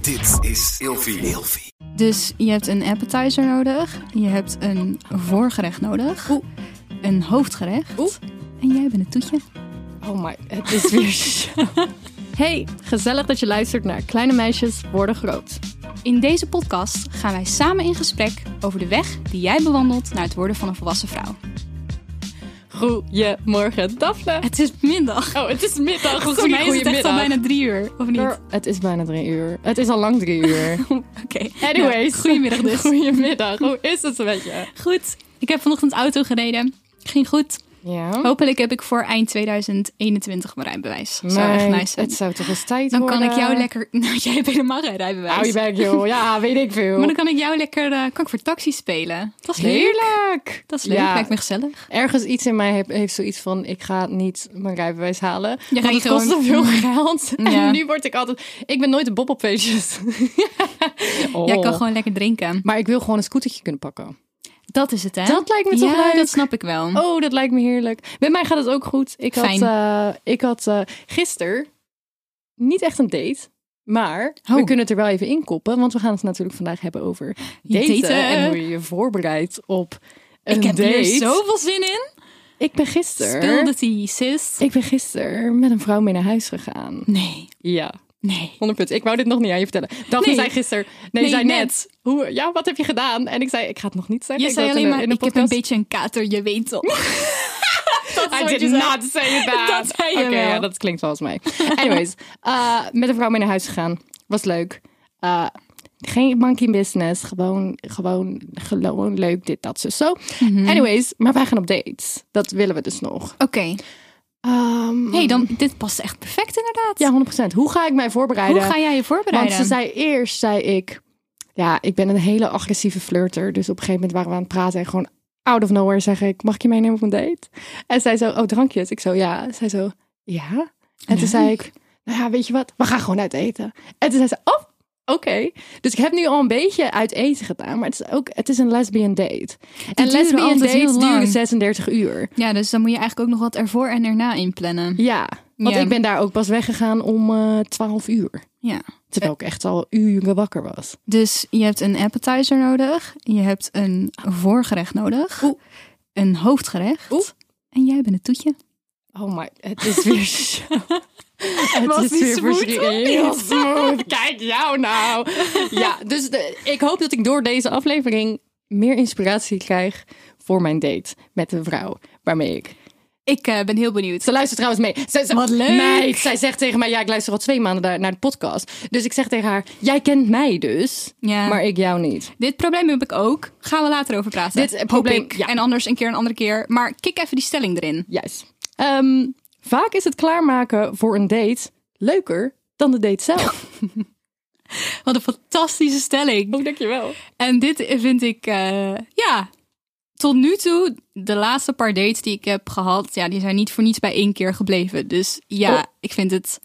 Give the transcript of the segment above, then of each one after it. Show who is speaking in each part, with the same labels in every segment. Speaker 1: Dit is Ilfie.
Speaker 2: Dus je hebt een appetizer nodig, je hebt een voorgerecht nodig,
Speaker 3: Oeh.
Speaker 2: een hoofdgerecht
Speaker 3: Oeh.
Speaker 2: en jij bent het toetje.
Speaker 3: Oh my, het is weer zo. Hey, gezellig dat je luistert naar Kleine Meisjes Worden Groot.
Speaker 2: In deze podcast gaan wij samen in gesprek over de weg die jij bewandelt naar het worden van een volwassen vrouw.
Speaker 3: Goedemorgen, Daphne.
Speaker 2: Het is middag.
Speaker 3: Oh, het is middag.
Speaker 2: Voor mij is het echt al bijna drie uur, of niet?
Speaker 3: Girl, Het is bijna drie uur. Het is al lang drie uur.
Speaker 2: Oké.
Speaker 3: Anyways.
Speaker 2: Nou, goedemiddag dus.
Speaker 3: Goedemiddag. Hoe is het met je?
Speaker 2: Goed. Ik heb vanochtend auto gereden. Ging goed.
Speaker 3: Ja.
Speaker 2: Hopelijk heb ik voor eind 2021 mijn rijbewijs. Zou echt
Speaker 3: Maar
Speaker 2: nice zijn.
Speaker 3: het zou toch eens tijd
Speaker 2: Dan
Speaker 3: worden.
Speaker 2: kan ik jou lekker... Nou, jij hebt helemaal geen rijbewijs.
Speaker 3: Hou je bek, joh. Ja, weet ik veel.
Speaker 2: Maar dan kan ik jou lekker eh, kan ik voor taxi spelen. Dat is leuk.
Speaker 3: Heerlijk.
Speaker 2: Dat is leuk,
Speaker 3: Ja.
Speaker 2: lijkt me gezellig.
Speaker 3: Ergens iets in mij heeft, heeft zoiets van: ik ga niet mijn rijbewijs halen.
Speaker 2: Je
Speaker 3: want
Speaker 2: rijdt
Speaker 3: het kost te
Speaker 2: gewoon- Mm.
Speaker 3: veel geld.
Speaker 2: Ja.
Speaker 3: En nu word ik altijd. Ik ben nooit de bob op feestjes. oh.
Speaker 2: Jij kan gewoon lekker drinken.
Speaker 3: Maar ik wil gewoon een scootertje kunnen pakken.
Speaker 2: Dat is het, hè?
Speaker 3: Dat lijkt me toch
Speaker 2: ja,
Speaker 3: leuk?
Speaker 2: dat snap ik wel.
Speaker 3: Oh, dat lijkt me heerlijk. Met mij gaat het ook goed. Ik had,
Speaker 2: Fijn.
Speaker 3: eh, ik had eh gisteren niet echt een date. Maar
Speaker 2: Oh.
Speaker 3: we kunnen het er wel even inkoppen. Want we gaan het natuurlijk vandaag hebben over daten.
Speaker 2: Daten.
Speaker 3: En hoe je je voorbereidt op een
Speaker 2: ik heb
Speaker 3: date.
Speaker 2: hier zoveel zin in.
Speaker 3: Ik ben gisteren...
Speaker 2: Speel de tea, sis.
Speaker 3: Ik ben gisteren met een vrouw mee naar huis gegaan.
Speaker 2: Nee,
Speaker 3: Ja,
Speaker 2: nee.
Speaker 3: 100 punten. Ik wou dit nog niet aan je vertellen. Daphne
Speaker 2: Nee.
Speaker 3: zei gisteren, nee,
Speaker 2: Nee,
Speaker 3: zei net.
Speaker 2: net.
Speaker 3: Hoe, ja, wat heb je gedaan? En ik zei, ik ga het nog niet zeggen.
Speaker 2: Je
Speaker 3: Ik
Speaker 2: zei
Speaker 3: wil het
Speaker 2: alleen maar,
Speaker 3: in de-
Speaker 2: ik
Speaker 3: in de
Speaker 2: heb een
Speaker 3: podcast-
Speaker 2: beetje een kater, je weet toch. dat is wat
Speaker 3: I
Speaker 2: je
Speaker 3: did
Speaker 2: zei.
Speaker 3: not say that.
Speaker 2: Dat zei je
Speaker 3: Oké,
Speaker 2: wel.
Speaker 3: ja, dat klinkt zoals mij. Anyways, eh, met een vrouw mee naar huis gegaan. Was leuk. Eh, geen monkey business. Gewoon, gewoon, gewoon leuk dit, dat, zo, zo. Anyways, maar wij gaan op dates. Dat willen we dus nog.
Speaker 2: Oké.
Speaker 3: Ehm,
Speaker 2: Nee, dan, dit past echt perfect inderdaad.
Speaker 3: Ja, 100%. Hoe ga ik mij voorbereiden?
Speaker 2: Hoe ga jij je
Speaker 3: Want
Speaker 2: voorbereiden?
Speaker 3: ze zei eerst, zei ik, ja, ik ben een hele agressieve flirter. Dus op een gegeven moment waren we aan het praten en gewoon out of nowhere zeg ik, mag ik je meenemen op een date? En zij zo, oh drankjes. Ik zo, ja. Zij zo, ja. En toen zei ik, nou ja, weet je wat, we gaan gewoon uit eten. En toen zei ze, oh, oké. Dus ik heb nu al een beetje uit eten gedaan, maar het is ook, het is een lesbian date. en
Speaker 2: duren
Speaker 3: lesbian
Speaker 2: altijd heel
Speaker 3: dates
Speaker 2: lang.
Speaker 3: duren 36 uur.
Speaker 2: Ja, dus dan moet je eigenlijk ook nog wat ervoor en erna inplannen.
Speaker 3: Ja, want
Speaker 2: Ja.
Speaker 3: ik ben daar ook pas weggegaan om eh 12 uur.
Speaker 2: Ja.
Speaker 3: Terwijl ik echt al uren wakker was.
Speaker 2: Dus je hebt een appetizer nodig, je hebt een voorgerecht nodig,
Speaker 3: Oeh.
Speaker 2: een hoofdgerecht
Speaker 3: Oeh.
Speaker 2: en jij bent het toetje.
Speaker 3: Oh my, het is weer zo. het
Speaker 2: Was
Speaker 3: is
Speaker 2: die
Speaker 3: weer
Speaker 2: smooth of
Speaker 3: verschrikkelijk. Heel smooth. Kijk jou nou. Ja, dus de- ik hoop dat ik door deze aflevering meer inspiratie krijg voor mijn date met de vrouw waarmee ik.
Speaker 2: Ik eh, ben heel benieuwd.
Speaker 3: Ze luistert trouwens mee. Ze, ze-
Speaker 2: Wat leuk.
Speaker 3: Meid, zij zegt tegen mij: Ja, ik luister al twee maanden daar- naar de podcast. Dus ik zeg tegen haar: Jij kent mij dus,
Speaker 2: Ja.
Speaker 3: maar ik jou niet.
Speaker 2: Dit probleem heb ik ook. Gaan we later over praten.
Speaker 3: Dit, eh,
Speaker 2: Hoop
Speaker 3: probleem,
Speaker 2: ik.
Speaker 3: ja.
Speaker 2: En anders een keer een andere keer. Maar kik even die stelling erin.
Speaker 3: Juist. Ehm, vaak is het klaarmaken voor een date leuker dan de date zelf.
Speaker 2: Wat een fantastische stelling.
Speaker 3: Dankjewel.
Speaker 2: En dit vind ik, eh, ja, tot nu toe, de laatste paar dates die ik heb gehad, ja, die zijn niet voor niets bij één keer gebleven. Dus ja,
Speaker 3: Oh.
Speaker 2: ik vind het,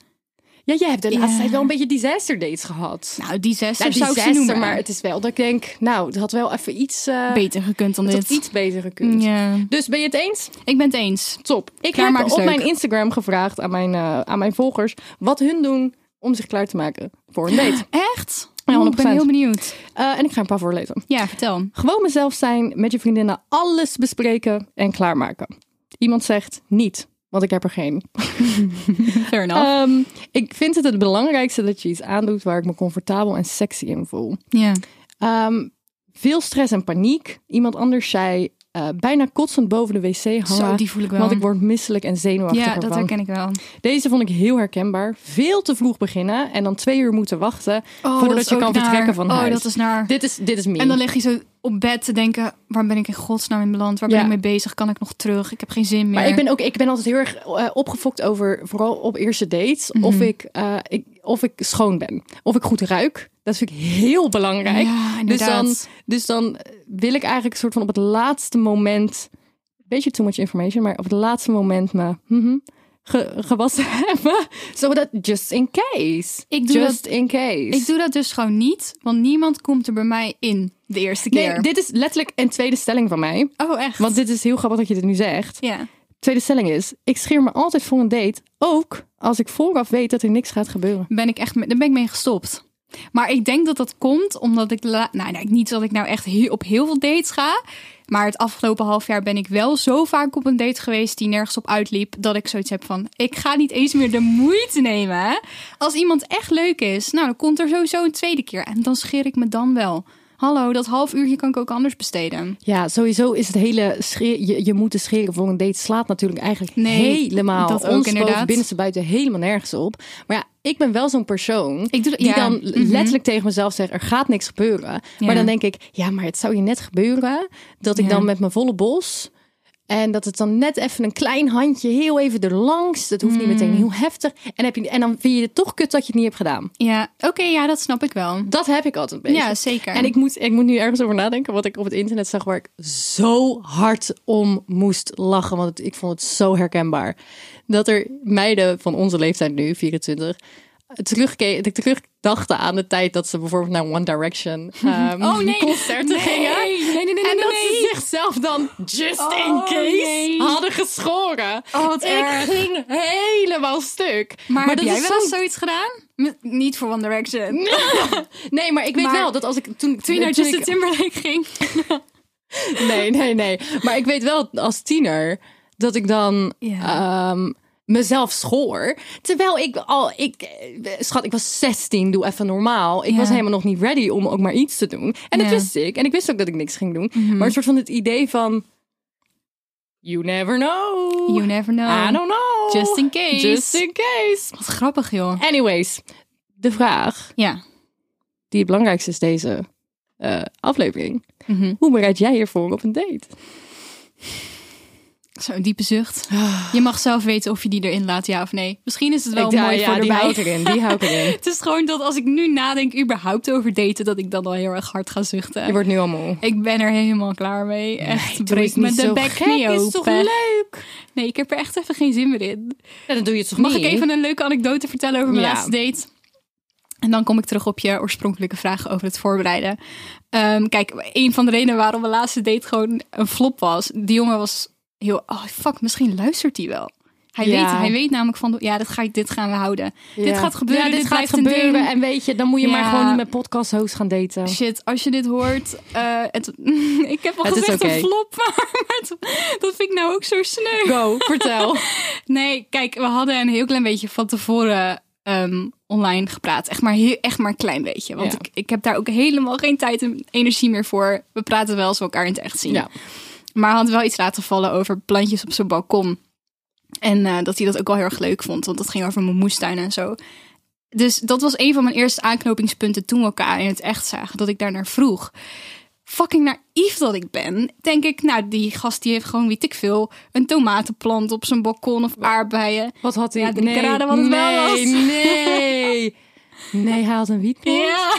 Speaker 3: Ja, jij hebt de laatste
Speaker 2: Ja.
Speaker 3: tijd wel een beetje disaster dates gehad.
Speaker 2: nou, die zes
Speaker 3: Nou,
Speaker 2: zou ik ze
Speaker 3: disaster,
Speaker 2: noemen.
Speaker 3: maar het is wel dat ik denk, nou, het had wel even iets, eh,
Speaker 2: beter gekund dan
Speaker 3: het
Speaker 2: dit.
Speaker 3: had iets beter gekund.
Speaker 2: Ja.
Speaker 3: Dus ben je het eens?
Speaker 2: Ik ben het eens.
Speaker 3: Top. Ik
Speaker 2: Klaar
Speaker 3: heb
Speaker 2: maken is
Speaker 3: op
Speaker 2: leuk.
Speaker 3: mijn Instagram gevraagd aan mijn, eh, aan mijn volgers wat hun doen om zich klaar te maken voor een date.
Speaker 2: Echt?
Speaker 3: Ja,
Speaker 2: Oh, ik ben
Speaker 3: 100%.
Speaker 2: heel benieuwd.
Speaker 3: Eh, en ik ga een paar voorlezen.
Speaker 2: Ja, vertel.
Speaker 3: Gewoon mezelf zijn, met je vriendinnen alles bespreken en klaarmaken. Iemand zegt niet, want ik heb er geen.
Speaker 2: Fair enough.
Speaker 3: Ehm, ik vind het het belangrijkste dat je iets aandoet waar ik me comfortabel en sexy in voel.
Speaker 2: ja.
Speaker 3: Ehm, veel stress en paniek. Iemand anders zei eh, bijna kotsend boven de wc hangen.
Speaker 2: Zo, die voel ik Oh, wel.
Speaker 3: Want ik word misselijk en zenuwachtig
Speaker 2: ja, dat
Speaker 3: ervan.
Speaker 2: herken ik wel.
Speaker 3: Deze vond ik heel herkenbaar. Veel te vroeg beginnen en dan twee uur moeten wachten voordat je kan vertrekken van
Speaker 2: oh,
Speaker 3: huis.
Speaker 2: dat is naar.
Speaker 3: Dit is, dit is me.
Speaker 2: En dan lig je zo op bed te denken, waar ben ik in godsnaam in beland? Waar ben
Speaker 3: Ja.
Speaker 2: ik mee bezig? Kan ik nog terug? Ik heb geen zin meer.
Speaker 3: maar ik ben, ook, ik ben altijd heel erg eh, opgefokt over, vooral op eerste dates, of,
Speaker 2: Mhm.
Speaker 3: ik, eh, ik, of ik schoon ben. Of ik goed ruik. Dat vind ik heel belangrijk.
Speaker 2: Ja,
Speaker 3: dus, dan,
Speaker 2: inderdaad.
Speaker 3: dus dan wil ik eigenlijk soort van op het laatste moment, beetje too much information, maar op het laatste moment me mhm, ge- gewassen hebben. Zodat, just in case.
Speaker 2: Ik doe
Speaker 3: just in case.
Speaker 2: Ik doe dat dus gewoon niet, want niemand komt er bij mij in de eerste
Speaker 3: nee,
Speaker 2: keer.
Speaker 3: dit is letterlijk een tweede stelling van mij.
Speaker 2: Oh, echt?
Speaker 3: Want dit is heel grappig dat je dit nu zegt.
Speaker 2: Ja.
Speaker 3: Tweede stelling is, ik scheer me altijd voor een date, ook als ik vooraf weet dat er niks gaat gebeuren.
Speaker 2: Ben ik echt, me- daar ben ik mee gestopt. Maar ik denk dat dat komt omdat ik... la- Nou, nee, niet dat ik nou echt heel, op heel veel dates ga. Maar het afgelopen half jaar ben ik wel zo vaak op een date geweest... die nergens op uitliep, dat ik zoiets heb van... ik ga niet eens meer de moeite nemen. hè. Als iemand echt leuk is, nou, dan komt er sowieso een tweede keer. En dan scheer ik me dan wel. Hallo, dat half uurtje kan ik ook anders besteden.
Speaker 3: Ja, sowieso is het hele schreeuw- je, je moeten scheren voor een date slaat natuurlijk eigenlijk
Speaker 2: Nee,
Speaker 3: helemaal
Speaker 2: dat ook
Speaker 3: ons boven
Speaker 2: inderdaad.
Speaker 3: binnenste buiten helemaal nergens op. Maar ja, ik ben wel zo'n persoon
Speaker 2: Ik doe dat-
Speaker 3: die
Speaker 2: ja,
Speaker 3: dan
Speaker 2: mhm.
Speaker 3: letterlijk tegen mezelf zegt: er gaat niks gebeuren.
Speaker 2: Ja.
Speaker 3: Maar dan denk ik: ja, maar het zou je net gebeuren dat ik
Speaker 2: Ja.
Speaker 3: dan met mijn volle bos en dat het dan net even een klein handje heel even erlangs. Dat hoeft niet
Speaker 2: Mm.
Speaker 3: meteen heel heftig. En, heb je, en dan vind je het toch kut dat je het niet hebt gedaan.
Speaker 2: Ja, oké, ja, dat snap ik wel.
Speaker 3: Dat heb ik altijd een beetje.
Speaker 2: Ja, zeker.
Speaker 3: En ik moet, ik moet nu ergens over nadenken wat ik op het internet zag waar ik zo hard om moest lachen. Want het- ik vond het zo herkenbaar. Dat er meiden van onze leeftijd nu, 24, terugke- dat ik terugdachten aan de tijd dat ze bijvoorbeeld naar One Direction ehm,
Speaker 2: Oh, nee.
Speaker 3: concerten
Speaker 2: Nee.
Speaker 3: gingen.
Speaker 2: Nee, nee, nee, nee,
Speaker 3: en dat
Speaker 2: nee.
Speaker 3: ze zichzelf dan just in
Speaker 2: Oh,
Speaker 3: case
Speaker 2: nee.
Speaker 3: hadden geschoren.
Speaker 2: Oh, wat
Speaker 3: ik
Speaker 2: erg.
Speaker 3: ging helemaal stuk.
Speaker 2: Maar, heb
Speaker 3: dat
Speaker 2: jij
Speaker 3: is
Speaker 2: wel eens
Speaker 3: zo'n-
Speaker 2: zoiets gedaan? M- niet voor One Direction.
Speaker 3: Nee, maar ik weet
Speaker 2: Maar-
Speaker 3: wel dat als ik toen,
Speaker 2: Toen je naar
Speaker 3: toen
Speaker 2: Justin
Speaker 3: ik-
Speaker 2: Timberlake ging.
Speaker 3: Nee, nee, nee. Maar ik weet wel als tiener dat ik dan ehm, mezelf schoor. Terwijl ik al, ik, eh, schat, ik was 16, doe even normaal. Ik
Speaker 2: Ja.
Speaker 3: was helemaal nog niet ready om ook maar iets te doen. En dat
Speaker 2: Ja. Mhm.
Speaker 3: wist ik. En ik wist ook dat ik niks ging doen. Maar een soort van het idee van, you never know.
Speaker 2: You never know.
Speaker 3: I don't know.
Speaker 2: Just in case.
Speaker 3: Just in case.
Speaker 2: Wat grappig, joh.
Speaker 3: Anyways, de vraag
Speaker 2: Ja.
Speaker 3: die het belangrijkste is deze eh, aflevering.
Speaker 2: Mhm.
Speaker 3: Hoe bereid jij je voor op een date?
Speaker 2: Zo'n diepe zucht. Je mag zelf weten of je die erin laat, ja of nee. Misschien is het wel
Speaker 3: Ah. Ik-
Speaker 2: mooi
Speaker 3: ja,
Speaker 2: voor
Speaker 3: die
Speaker 2: erbij.
Speaker 3: hou ik erin. Die hou ik erin.
Speaker 2: Het is gewoon dat als ik nu nadenk überhaupt over daten, dat ik dan al heel erg hard ga zuchten.
Speaker 3: Je wordt nu al moe.
Speaker 2: Ik ben er helemaal klaar mee. Echt, breek me de bek niet open.
Speaker 3: leuk?
Speaker 2: nee, ik heb er echt even geen zin meer in.
Speaker 3: Ja, dan doe je het toch
Speaker 2: Mag
Speaker 3: niet?
Speaker 2: ik even een leuke anekdote vertellen over mijn
Speaker 3: Ja.
Speaker 2: laatste date? En dan kom ik terug op je oorspronkelijke vraag over het voorbereiden. Ehm, kijk, een van de redenen waarom mijn laatste date gewoon een flop was. Die jongen was heel... Oh, fuck, misschien luistert hij wel. Hij,
Speaker 3: Ja.
Speaker 2: weet, hij weet namelijk van... Ja, dit, ga ik, dit gaan we houden. Dit gaat gebeuren,
Speaker 3: Ja,
Speaker 2: dit,
Speaker 3: dit, gaat
Speaker 2: blijft een
Speaker 3: gebeuren.
Speaker 2: ding.
Speaker 3: En weet je, dan moet je maar
Speaker 2: Ja.
Speaker 3: gewoon niet met podcast-hosts gaan daten.
Speaker 2: Shit, als je dit hoort. eh, het, ik heb al
Speaker 3: Het is
Speaker 2: gezegd
Speaker 3: oké.
Speaker 2: een flop, maar, het- dat vind ik nou ook zo sneu.
Speaker 3: Go, vertel.
Speaker 2: Nee, kijk, we hadden een heel klein beetje van tevoren ehm, online gepraat. Echt maar, heel, echt maar een klein beetje. Want
Speaker 3: Ja.
Speaker 2: ik, ik heb daar ook helemaal geen tijd en energie meer voor. We praten wel als we elkaar in het echt zien.
Speaker 3: Ja.
Speaker 2: Maar hij had wel iets laten vallen over plantjes op zijn balkon. En eh, dat hij dat ook wel heel erg leuk vond. Want dat ging over mijn moestuin en zo. Dus dat was een van mijn eerste aanknopingspunten toen we elkaar in het echt zagen. Dat ik daar naar vroeg. Fucking naïef dat ik ben. Denk ik, nou die gast die heeft gewoon, weet ik veel, een tomatenplant op zijn balkon of aardbeien.
Speaker 3: Wat had hij?
Speaker 2: Ja, ik raden wat het
Speaker 3: nee,
Speaker 2: wel was.
Speaker 3: Nee, nee. hij had een wietpot.
Speaker 2: Ja.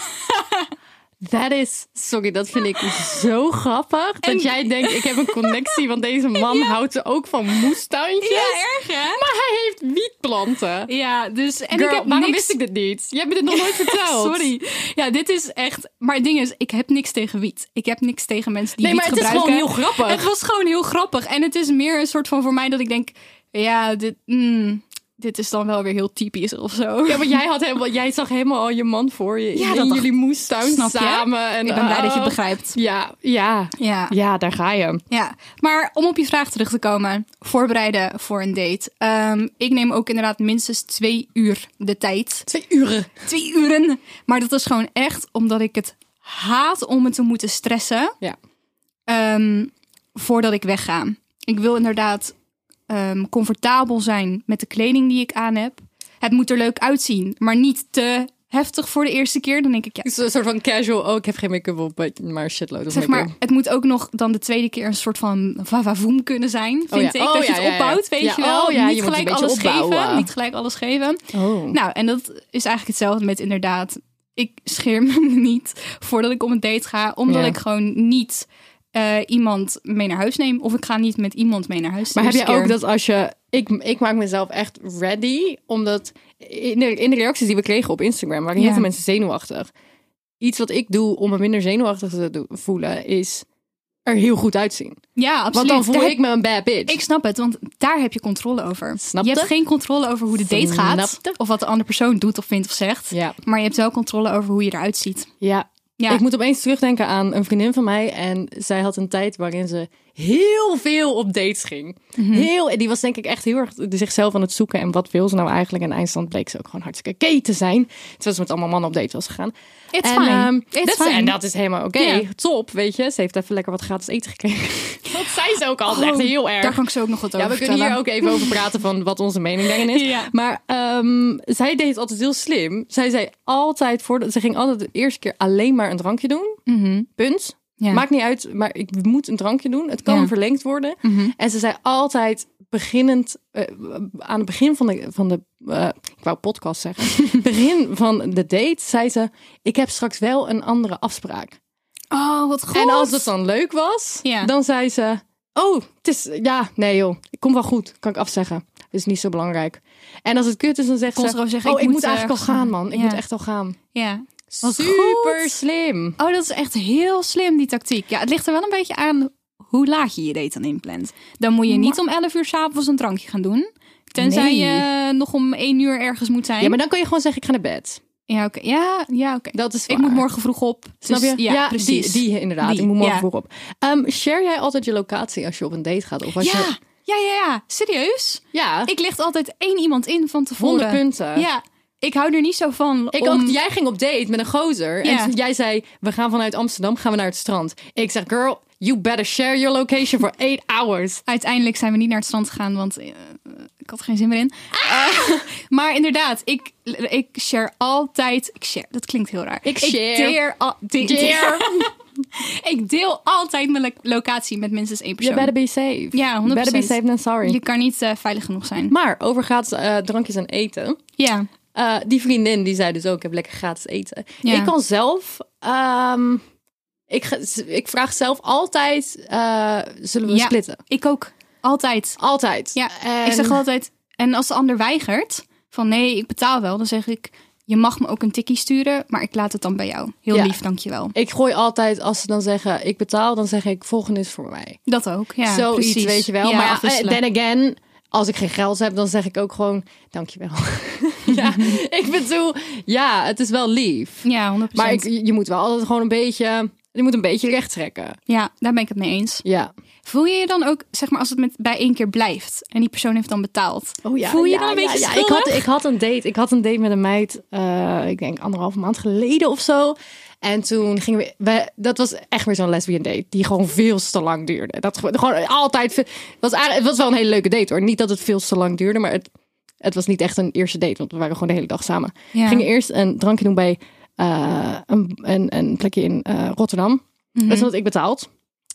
Speaker 3: That is, sorry, dat vind ik zo grappig. Dat
Speaker 2: En-
Speaker 3: jij denkt, ik heb een connectie, want deze man houdt ook van moestuintjes.
Speaker 2: ja, erg hè?
Speaker 3: Maar hij heeft wietplanten.
Speaker 2: Ja, dus en
Speaker 3: Girl,
Speaker 2: ik heb
Speaker 3: waarom
Speaker 2: niks...
Speaker 3: wist ik dit niet? Je hebt me dit nog nooit verteld.
Speaker 2: Sorry. Ja, dit is echt. Maar het ding is, ik heb niks tegen wiet. Ik heb niks tegen mensen die
Speaker 3: Nee,
Speaker 2: wiet
Speaker 3: maar het is
Speaker 2: gebruiken.
Speaker 3: gewoon heel grappig.
Speaker 2: Het was gewoon heel grappig. En het is meer een soort van voor mij dat ik denk, ja, dit, mm, dit is dan wel weer heel typisch of zo.
Speaker 3: Ja, want jij, had helemaal, jij zag helemaal al je man voor je. in-
Speaker 2: Ja, dat
Speaker 3: in
Speaker 2: dacht-
Speaker 3: jullie moestuin
Speaker 2: Snap je?
Speaker 3: samen. En,
Speaker 2: ik ben blij dat je het
Speaker 3: oh.
Speaker 2: begrijpt.
Speaker 3: Ja, ja,
Speaker 2: Ja.
Speaker 3: ja, daar ga je.
Speaker 2: Ja, maar om op je vraag terug te komen, voorbereiden voor een date. Ehm, ik neem ook inderdaad minstens twee uur de tijd.
Speaker 3: Twee uren.
Speaker 2: Twee uren. Maar dat is gewoon echt omdat ik het haat om me te moeten stressen
Speaker 3: Ja.
Speaker 2: ehm, voordat ik wegga. Ik wil inderdaad ehm, comfortabel zijn met de kleding die ik aan heb. Het moet er leuk uitzien, maar niet te heftig voor de eerste keer. Dan denk ik, ja,
Speaker 3: Dus een soort van casual. Oh, ik heb geen make-up op, but- maar shitload of
Speaker 2: zeg
Speaker 3: make-up.
Speaker 2: maar, het moet ook nog dan de tweede keer een soort van vavavoem kunnen zijn, vind
Speaker 3: ja.
Speaker 2: ik.
Speaker 3: Oh,
Speaker 2: dat
Speaker 3: ja,
Speaker 2: je
Speaker 3: ja,
Speaker 2: het
Speaker 3: ja.
Speaker 2: opbouwt, weet
Speaker 3: Ja,
Speaker 2: je wel.
Speaker 3: oh, ja,
Speaker 2: niet
Speaker 3: je moet een
Speaker 2: gelijk
Speaker 3: beetje
Speaker 2: alles
Speaker 3: opbouwen.
Speaker 2: geven. Niet gelijk alles geven.
Speaker 3: Oh.
Speaker 2: Nou, en dat is eigenlijk hetzelfde met inderdaad. Ik scheer me niet voordat ik op een date ga, omdat
Speaker 3: Ja.
Speaker 2: ik gewoon niet eh, iemand mee naar huis neem. Of ik ga niet met iemand mee naar huis. de
Speaker 3: Maar heb jij
Speaker 2: eerste
Speaker 3: ook
Speaker 2: keer.
Speaker 3: dat als je... Ik, ik maak mezelf echt ready, omdat in de, in de reacties die we kregen op Instagram waren heel
Speaker 2: Ja.
Speaker 3: veel mensen zenuwachtig. Iets wat ik doe om me minder zenuwachtig te do- voelen is er heel goed uitzien.
Speaker 2: Ja,
Speaker 3: Want
Speaker 2: absoluut.
Speaker 3: dan voel
Speaker 2: Daar-
Speaker 3: ik me een bad bitch.
Speaker 2: Ik snap het, want daar heb je controle over.
Speaker 3: Snapte?
Speaker 2: je hebt geen controle over hoe de date gaat.
Speaker 3: Snapte?
Speaker 2: Of wat de andere persoon doet of vindt of zegt.
Speaker 3: Ja.
Speaker 2: Maar je hebt wel controle over hoe je eruit ziet.
Speaker 3: Ja.
Speaker 2: Ja.
Speaker 3: Ik moet opeens terugdenken aan een vriendin van mij. En zij had een tijd waarin ze heel veel op dates ging. Heel, en die was denk ik echt heel erg zichzelf aan het zoeken. En wat wil ze nou eigenlijk? En eindstand bleek ze ook gewoon hartstikke gay te zijn. Terwijl ze met allemaal mannen op date was gegaan.
Speaker 2: It's
Speaker 3: en,
Speaker 2: fine.
Speaker 3: ehm,
Speaker 2: It's
Speaker 3: dat-
Speaker 2: fine.
Speaker 3: En dat is helemaal oké.
Speaker 2: Ja.
Speaker 3: Top, weet je. Ze heeft even lekker wat gratis eten gekregen. dat zei ze ook altijd. echt
Speaker 2: Oh,
Speaker 3: heel erg.
Speaker 2: Daar kan ik zo ook nog wat over
Speaker 3: Ja, we kunnen hier
Speaker 2: vertellen.
Speaker 3: ook even over praten van wat onze mening daarin is.
Speaker 2: Ja.
Speaker 3: Maar ehm, zij deed het altijd heel slim. Zij zei altijd voordat ze ging altijd de eerste keer alleen maar een drankje doen. Punt.
Speaker 2: Mhm, Ja.
Speaker 3: Maakt niet uit, maar ik moet een drankje doen. Het kan
Speaker 2: Ja. Mhm.
Speaker 3: verlengd worden. En ze zei altijd beginnend eh, aan het begin van de van de eh, ik wou podcast zeggen. begin van de date zei ze: ik heb straks wel een andere afspraak.
Speaker 2: Oh, wat goed.
Speaker 3: En als het dan leuk was,
Speaker 2: Ja.
Speaker 3: dan zei ze: Oh, het is. Ja, nee joh, ik kom wel goed. Kan ik afzeggen. Het is niet zo belangrijk. En als het kut is, dan zegt
Speaker 2: Kon
Speaker 3: ze:
Speaker 2: ze gewoon zeggen,
Speaker 3: Oh,
Speaker 2: ik
Speaker 3: ik moet,
Speaker 2: moet, eh,
Speaker 3: eigenlijk al gaan, man. Ik
Speaker 2: ja.
Speaker 3: moet echt al gaan.
Speaker 2: Ja. Wat
Speaker 3: Super
Speaker 2: goed.
Speaker 3: slim.
Speaker 2: Oh, dat is echt heel slim, die tactiek. Ja, het ligt er wel een beetje aan hoe laag je je date dan inplant. Dan moet je niet om 11 uur s'avonds een drankje gaan doen. Tenzij
Speaker 3: Nee.
Speaker 2: je eh, nog om 1 uur ergens moet zijn.
Speaker 3: Ja, maar dan kun je gewoon zeggen: Ik ga naar bed.
Speaker 2: Ja, oké. Ja, ja, oké.
Speaker 3: Dat is
Speaker 2: Ik
Speaker 3: waar.
Speaker 2: moet morgen vroeg op.
Speaker 3: Snap
Speaker 2: Dus
Speaker 3: je?
Speaker 2: Ja, precies.
Speaker 3: Die, die inderdaad.
Speaker 2: Die,
Speaker 3: ik moet morgen
Speaker 2: ja.
Speaker 3: vroeg op. Ehm, share jij altijd je locatie als je op een date gaat? Of als
Speaker 2: ja.
Speaker 3: je.
Speaker 2: ja, ja, ja. Serieus?
Speaker 3: Ja,
Speaker 2: Ik licht altijd één iemand in van tevoren.
Speaker 3: 100 punten.
Speaker 2: Ja, ik hou er niet zo van.
Speaker 3: Ik
Speaker 2: om...
Speaker 3: ook, jij ging op date met een gozer.
Speaker 2: Ja.
Speaker 3: En jij zei, we gaan vanuit Amsterdam gaan we naar het strand. Ik zeg, girl, you better share your location for eight hours.
Speaker 2: Uiteindelijk zijn we niet naar het strand gegaan, want eh, ik had er geen zin meer in. Eh, maar inderdaad, ik, ik share altijd. Ik share, dat klinkt heel raar.
Speaker 3: Ik share.
Speaker 2: Ik, deel al- de-
Speaker 3: Dear.
Speaker 2: ik deel altijd mijn lo- locatie met minstens één
Speaker 3: You
Speaker 2: persoon.
Speaker 3: better be safe.
Speaker 2: Ja, 100%.
Speaker 3: Better be safe than sorry.
Speaker 2: Je kan niet eh, veilig genoeg zijn.
Speaker 3: Maar over gratis eh, drankjes en eten.
Speaker 2: ja.
Speaker 3: Eh, die vriendin die zei dus ook, ik heb lekker gratis eten.
Speaker 2: Ja.
Speaker 3: Ik kan zelf... ehm, ik, ga- ik vraag zelf altijd, eh, zullen we
Speaker 2: Ja.
Speaker 3: splitten?
Speaker 2: Ik ook. Altijd.
Speaker 3: Altijd.
Speaker 2: Ja,
Speaker 3: En-
Speaker 2: ik zeg altijd... En als de ander weigert, van nee, ik betaal wel, dan zeg ik... Je mag me ook een tikkie sturen, maar ik laat het dan bij jou. Heel
Speaker 3: Ja.
Speaker 2: lief, dankjewel.
Speaker 3: Ik gooi altijd, als ze dan zeggen, ik betaal, dan zeg ik, volgende is voor mij.
Speaker 2: Dat ook, ja.
Speaker 3: zoiets,
Speaker 2: precies.
Speaker 3: weet je wel.
Speaker 2: Ja,
Speaker 3: maar eh,
Speaker 2: afwisselen.
Speaker 3: then again, als ik geen geld heb, dan zeg ik ook gewoon dankjewel. ja, ik bedoel, ja, het is wel lief.
Speaker 2: Ja, 100%.
Speaker 3: Maar ik, je moet wel altijd gewoon een beetje, je moet een beetje recht trekken.
Speaker 2: Ja, daar ben ik het mee eens.
Speaker 3: Ja.
Speaker 2: Voel je je dan ook, zeg maar, als het met, bij één keer blijft en die persoon heeft dan betaald?
Speaker 3: Oh
Speaker 2: Voel je je dan een beetje
Speaker 3: ik,
Speaker 2: schuldig?
Speaker 3: had, ik had een date. Ik had een date met een meid, eh, ik denk anderhalve maand geleden of zo. En toen gingen we, we- dat was echt weer zo'n lesbian date die gewoon veel te lang duurde. Dat ge- gewoon altijd, ve- was, aardig- het was wel een hele leuke date hoor. Niet dat het veel te lang duurde, maar het, het was niet echt een eerste date, want we waren gewoon de hele dag samen.
Speaker 2: Ja.
Speaker 3: Gingen eerst een drankje doen bij eh, een, een, een plekje in eh, Rotterdam.
Speaker 2: Mhm.
Speaker 3: Dat had ik betaald.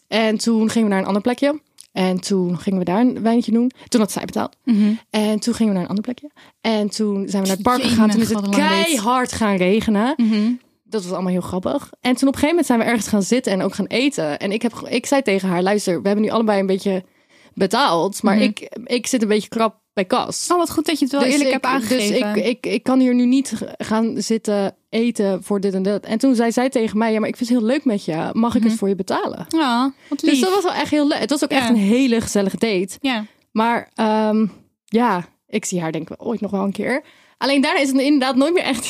Speaker 3: En toen gingen we naar een ander plekje. En toen gingen we daar een wijntje doen. Toen had zij betaald.
Speaker 2: Mhm.
Speaker 3: En toen gingen we naar een ander plekje. En toen zijn we naar het park
Speaker 2: Jemig,
Speaker 3: gegaan. Toen is
Speaker 2: wat
Speaker 3: het
Speaker 2: een lange date.
Speaker 3: keihard gaan regenen. Dat was allemaal heel grappig. En toen op een gegeven moment zijn we ergens gaan zitten en ook gaan eten. En ik, heb, ik zei tegen haar, luister, we hebben nu allebei een beetje betaald. Maar ik, ik zit een beetje krap bij kas.
Speaker 2: Mhm. Oh, wat goed dat je het wel
Speaker 3: Dus
Speaker 2: eerlijk
Speaker 3: ik-
Speaker 2: hebt aangegeven.
Speaker 3: Dus ik, ik, ik kan hier nu niet g- gaan zitten eten voor dit en dat. En toen zei zij tegen mij, ja, maar ik vind het heel leuk met je. Mag ik het voor je betalen?
Speaker 2: Ja, wat Mhm. lief.
Speaker 3: Dus dat was wel echt heel leuk. Het was ook
Speaker 2: Ja.
Speaker 3: echt een hele gezellige date.
Speaker 2: Ja.
Speaker 3: Maar ehm, ja, ik zie haar denk ik ooit nog wel een keer. Alleen daarna is het inderdaad nooit meer echt...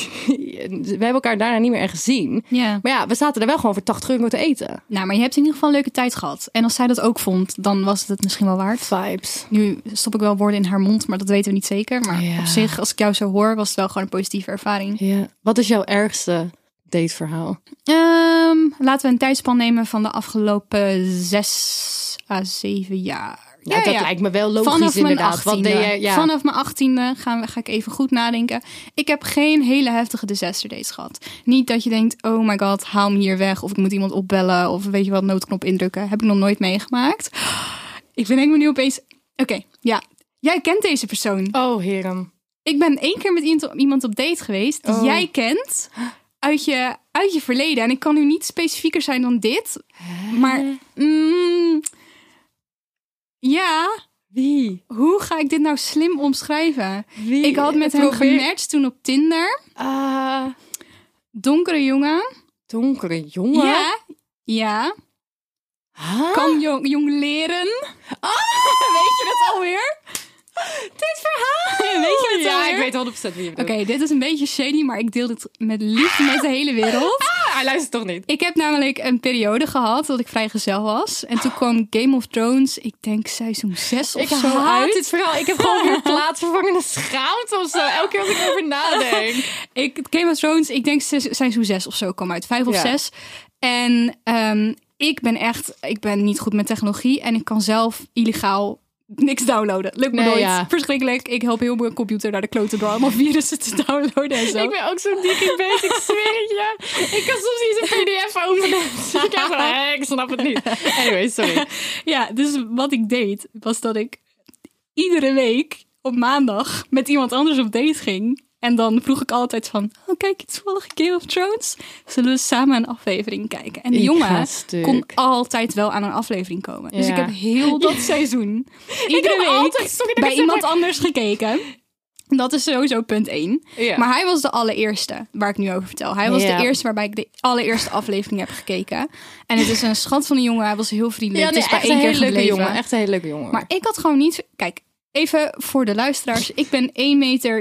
Speaker 3: We hebben elkaar daarna niet meer echt gezien.
Speaker 2: ja.
Speaker 3: Maar ja, we zaten er wel gewoon voor 80 euro te eten.
Speaker 2: Nou, maar je hebt in ieder geval een leuke tijd gehad. En als zij dat ook vond, dan was het het misschien wel waard.
Speaker 3: Vibes.
Speaker 2: Nu stop ik wel woorden in haar mond, maar dat weten we niet zeker. Maar
Speaker 3: Ja.
Speaker 2: op zich, als ik jou zo hoor, was het wel gewoon een positieve ervaring.
Speaker 3: Ja. Wat is jouw ergste dateverhaal?
Speaker 2: Ehm, laten we een tijdspan nemen van de afgelopen zes à zeven jaar.
Speaker 3: Nou, dat lijkt me wel logisch
Speaker 2: Vanaf mijn
Speaker 3: inderdaad. Wat deed
Speaker 2: 18e.
Speaker 3: jij- ja.
Speaker 2: Vanaf mijn achttiende ga, ga ik even goed nadenken. Ik heb geen hele heftige disaster dates gehad. Niet dat je denkt, oh my god, haal me hier weg. Of ik moet iemand opbellen. Of weet je wat, noodknop indrukken. Heb ik nog nooit meegemaakt. Ik bedenk me nu opeens... Oké, ja. Jij kent deze persoon.
Speaker 3: Oh, heren.
Speaker 2: Ik ben één keer met iemand- iemand op date geweest die
Speaker 3: Oh.
Speaker 2: jij kent uit je, uit je verleden. En ik kan nu niet specifieker zijn dan dit. Maar mm, ja,
Speaker 3: Wie?
Speaker 2: hoe ga ik dit nou slim omschrijven?
Speaker 3: Wie?
Speaker 2: Ik had met hem
Speaker 3: Probeer-
Speaker 2: gematcht toen op Tinder.
Speaker 3: Ah,
Speaker 2: Donkere jongen.
Speaker 3: donkere jongen.
Speaker 2: Ja, ja. Kan jong, jong leren. Ah. Weet je dat alweer? Dit verhaal! Weet je dat
Speaker 3: Oh, ja,
Speaker 2: alweer?
Speaker 3: ik weet 100% wie je bedoelt.
Speaker 2: Oké, dit is een beetje shady, maar ik deel dit met liefde met de hele wereld.
Speaker 3: Ah, hij luistert toch niet?
Speaker 2: Ik heb namelijk een periode gehad dat ik vrijgezel was. En toen kwam Game of Thrones, ik denk seizoen 6 of
Speaker 3: Ik
Speaker 2: zo
Speaker 3: haat
Speaker 2: uit.
Speaker 3: dit verhaal. Ik heb gewoon weer plaatsvervangende schaamte of zo. Elke keer als ik erover nadenk.
Speaker 2: Ik, Game of Thrones, ik denk se- seizoen 6 of zo kwam uit. Vijf of
Speaker 3: Ja.
Speaker 2: zes. En ehm, ik ben echt, ik ben niet goed met technologie. En ik kan zelf illegaal niks downloaden. Lukt me
Speaker 3: Nee,
Speaker 2: nooit.
Speaker 3: ja.
Speaker 2: Verschrikkelijk. Ik help heel mijn computer naar de kloten door allemaal virussen te downloaden en zo.
Speaker 3: Ik ben ook zo digi bezig, ik zweer het je. Ik kan soms niet eens een pdf openen. Ik, heb zo, "Hé, ik snap het niet. Anyway, sorry.
Speaker 2: Ja, dus wat ik deed, was dat ik iedere week op maandag met iemand anders op date ging. En dan vroeg ik altijd van, oh kijk, toevallig Game of Thrones. Zullen we samen een aflevering kijken? En de
Speaker 3: Ik ga
Speaker 2: jongen
Speaker 3: stuk.
Speaker 2: kon altijd wel aan een aflevering komen. Dus
Speaker 3: Ja.
Speaker 2: ik heb heel dat seizoen, iedere
Speaker 3: heb
Speaker 2: week,
Speaker 3: altijd- sorry dat ik
Speaker 2: bij
Speaker 3: zeg,
Speaker 2: iemand
Speaker 3: maar-
Speaker 2: anders gekeken. Dat is sowieso punt één.
Speaker 3: Ja.
Speaker 2: Maar hij was de allereerste waar ik nu over vertel. Hij was
Speaker 3: Ja.
Speaker 2: de eerste waarbij ik de allereerste aflevering heb gekeken. En het is een schat van een jongen. Hij was heel vriendelijk.
Speaker 3: Ja,
Speaker 2: het is bij één keer gebleven.
Speaker 3: Echt een hele leuke jongen.
Speaker 2: Maar ik had gewoon niet... Kijk, even voor de luisteraars. Ik ben 1,67 meter.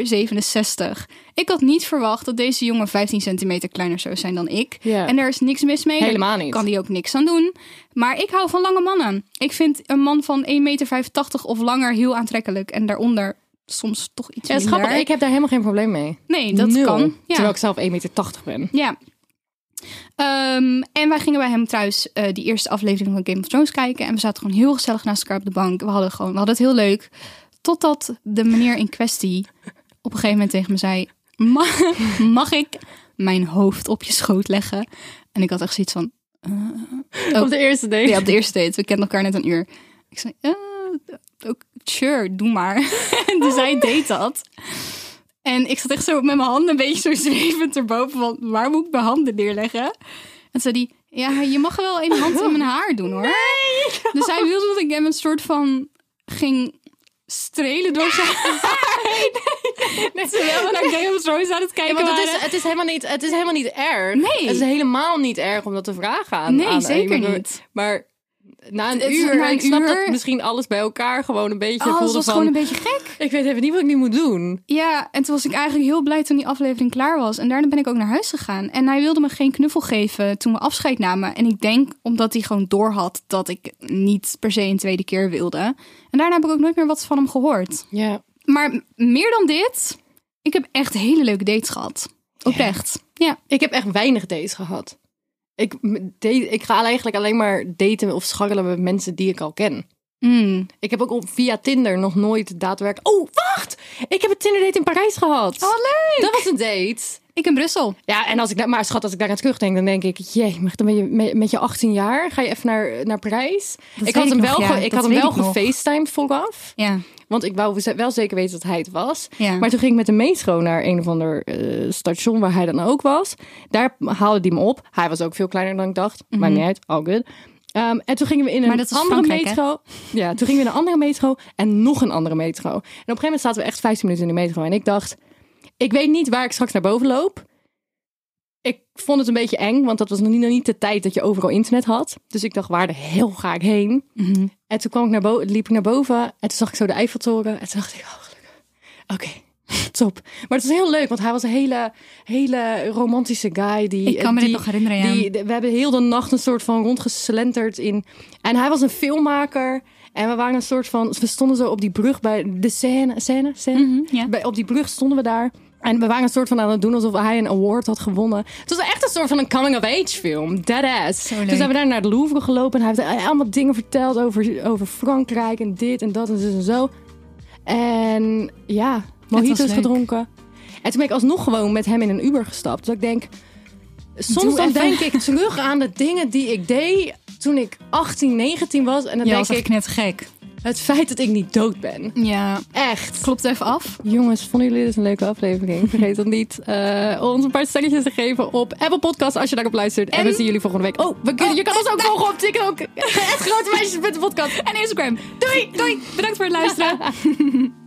Speaker 2: Ik had niet verwacht dat deze jongen 15 centimeter kleiner zou zijn dan ik.
Speaker 3: Ja.
Speaker 2: En daar is niks mis mee.
Speaker 3: Helemaal
Speaker 2: Daar
Speaker 3: niet.
Speaker 2: kan hij ook niks aan doen. Maar ik hou van lange mannen. Ik vind een man van 1,85 meter of langer heel aantrekkelijk. En daaronder soms toch iets
Speaker 3: ja, dat is
Speaker 2: minder.
Speaker 3: grappig. Ik heb daar helemaal geen probleem mee.
Speaker 2: Nee, dat
Speaker 3: Nul.
Speaker 2: kan. Ja.
Speaker 3: Terwijl ik zelf 1,80 meter ben.
Speaker 2: Ja. Ehm, en wij gingen bij hem thuis eh, die eerste aflevering van Game of Thrones kijken. En we zaten gewoon heel gezellig naast elkaar op de bank. We hadden, gewoon, we hadden het heel leuk. Totdat de meneer in kwestie op een gegeven moment tegen me zei... Mag, mag ik mijn hoofd op je schoot leggen? En ik had echt zoiets van...
Speaker 3: Op de eerste date.
Speaker 2: Ja, op de eerste date. We kenden elkaar net een uur. Ik zei, eh, ook, sure, doe maar. dus hij deed dat. En ik zat echt zo met mijn handen een beetje zo zwevend erboven. Van, waar moet ik mijn handen neerleggen? En zei hij, ja, je mag wel een hand in mijn haar doen hoor. Dus hij wilde dat ik hem een soort van ging strelen door zijn haar. Terwijl we naar Game of Thrones aan het
Speaker 3: Ja,
Speaker 2: kijken
Speaker 3: maar dat
Speaker 2: waren.
Speaker 3: is, het, is helemaal niet, het is helemaal niet erg.
Speaker 2: Nee.
Speaker 3: Het is helemaal niet erg om dat te vragen aan
Speaker 2: Nee,
Speaker 3: aan-
Speaker 2: zeker
Speaker 3: ik bedoel,
Speaker 2: niet.
Speaker 3: Maar na een
Speaker 2: Het is
Speaker 3: uur,
Speaker 2: na een
Speaker 3: ik snap
Speaker 2: uur-
Speaker 3: dat misschien alles bij elkaar gewoon een beetje
Speaker 2: Alles
Speaker 3: voelde
Speaker 2: Oh, was
Speaker 3: van...
Speaker 2: gewoon een beetje gek.
Speaker 3: Ik weet even niet wat ik nu moet doen.
Speaker 2: Ja, en toen was ik eigenlijk heel blij toen die aflevering klaar was. En daarna ben ik ook naar huis gegaan. En hij wilde me geen knuffel geven toen we afscheid namen. En ik denk omdat hij gewoon doorhad dat ik niet per se een tweede keer wilde. En daarna heb ik ook nooit meer wat van hem gehoord.
Speaker 3: Ja.
Speaker 2: Maar m- meer dan dit, ik heb echt hele leuke dates gehad. Oprecht. Ja.
Speaker 3: Ik heb echt weinig dates gehad. Ik, m- date, ik ga eigenlijk alleen maar daten of scharrelen met mensen die ik al ken.
Speaker 2: Mm.
Speaker 3: Ik heb ook op, via Tinder nog nooit daadwerkelijk... Oh, wacht! Ik heb een Tinder date in Parijs gehad.
Speaker 2: Oh, leuk!
Speaker 3: Dat was een date.
Speaker 2: Ik in Brussel.
Speaker 3: Ja, en als ik daar, maar schat, als ik daar aan terugdenk, dan denk ik, jee, maar dan ben je met, met je 18 jaar, ga je even naar, naar Parijs.
Speaker 2: weet
Speaker 3: ik had
Speaker 2: ik
Speaker 3: hem
Speaker 2: nog,
Speaker 3: wel,
Speaker 2: ja,
Speaker 3: ge- ik
Speaker 2: dat
Speaker 3: had hem
Speaker 2: weet
Speaker 3: wel
Speaker 2: ik nog.
Speaker 3: gefacetimed vooraf,
Speaker 2: Ja.
Speaker 3: want ik wou ze- wel zeker weten dat hij het was.
Speaker 2: Ja.
Speaker 3: Maar toen ging ik met de metro naar een of ander eh, station waar hij dan ook was. Daar haalde hij me op. Hij was ook veel kleiner dan ik dacht, maar niet uit, all good. Ehm, en toen gingen we in
Speaker 2: Mhm. Maar
Speaker 3: een
Speaker 2: dat is
Speaker 3: andere
Speaker 2: Frankrijk, hè?
Speaker 3: metro. Ja, toen gingen we in een andere metro en nog een andere metro. En op een gegeven moment zaten we echt 15 minuten in de metro. En ik dacht, ik weet niet waar ik straks naar boven loop. Ik vond het een beetje eng, want dat was nog niet, nog niet de tijd dat je overal internet had. Dus ik dacht, waar de hel ga ik heen? En toen kwam ik naar boven, liep ik naar boven en toen zag ik zo de Eiffeltoren. En toen dacht ik, oh gelukkig. Oké, top. Maar het was heel leuk, want hij was een hele, hele romantische guy. Die,
Speaker 2: Ik kan me dit
Speaker 3: die-
Speaker 2: nog herinneren, ja.
Speaker 3: die- de- we hebben heel de nacht een soort van rondgeslenterd in... En hij was een filmmaker en we waren een soort van... We stonden zo op die brug bij de scène, scène, scène.
Speaker 2: Mhm, ja.
Speaker 3: Bij- op die brug stonden we daar. En we waren een soort van aan het doen alsof hij een award had gewonnen. Het was echt een soort van een coming-of-age film. Deadass.
Speaker 2: leuk.
Speaker 3: Toen zijn we daar naar de Louvre gelopen. En hij heeft eh, allemaal dingen verteld over, over Frankrijk en dit en dat en zo en zo. En ja,
Speaker 2: was
Speaker 3: mojitos
Speaker 2: leuk.
Speaker 3: gedronken. En toen ben ik alsnog gewoon met hem in een Uber gestapt. Dus ik denk, soms
Speaker 2: Doe
Speaker 3: dan
Speaker 2: even.
Speaker 3: denk ik terug aan de dingen die ik deed toen ik 18, 19 was. En dan
Speaker 2: Ja, was
Speaker 3: denk
Speaker 2: echt
Speaker 3: ik,
Speaker 2: knettergek.
Speaker 3: het feit dat ik niet dood ben.
Speaker 2: Ja.
Speaker 3: Echt.
Speaker 2: Klopt even af.
Speaker 3: Jongens, vonden jullie dit een leuke aflevering? Vergeet dan niet eh, ons een paar stelletjes te geven op Apple Podcast als je daarop luistert. En,
Speaker 2: En-
Speaker 3: we zien jullie volgende week. Oh, we kunnen, je kan ons ook volgen op TikTok. Het grote meisjes met de podcast.
Speaker 2: En Instagram. Doei! Doei! Bedankt voor het luisteren.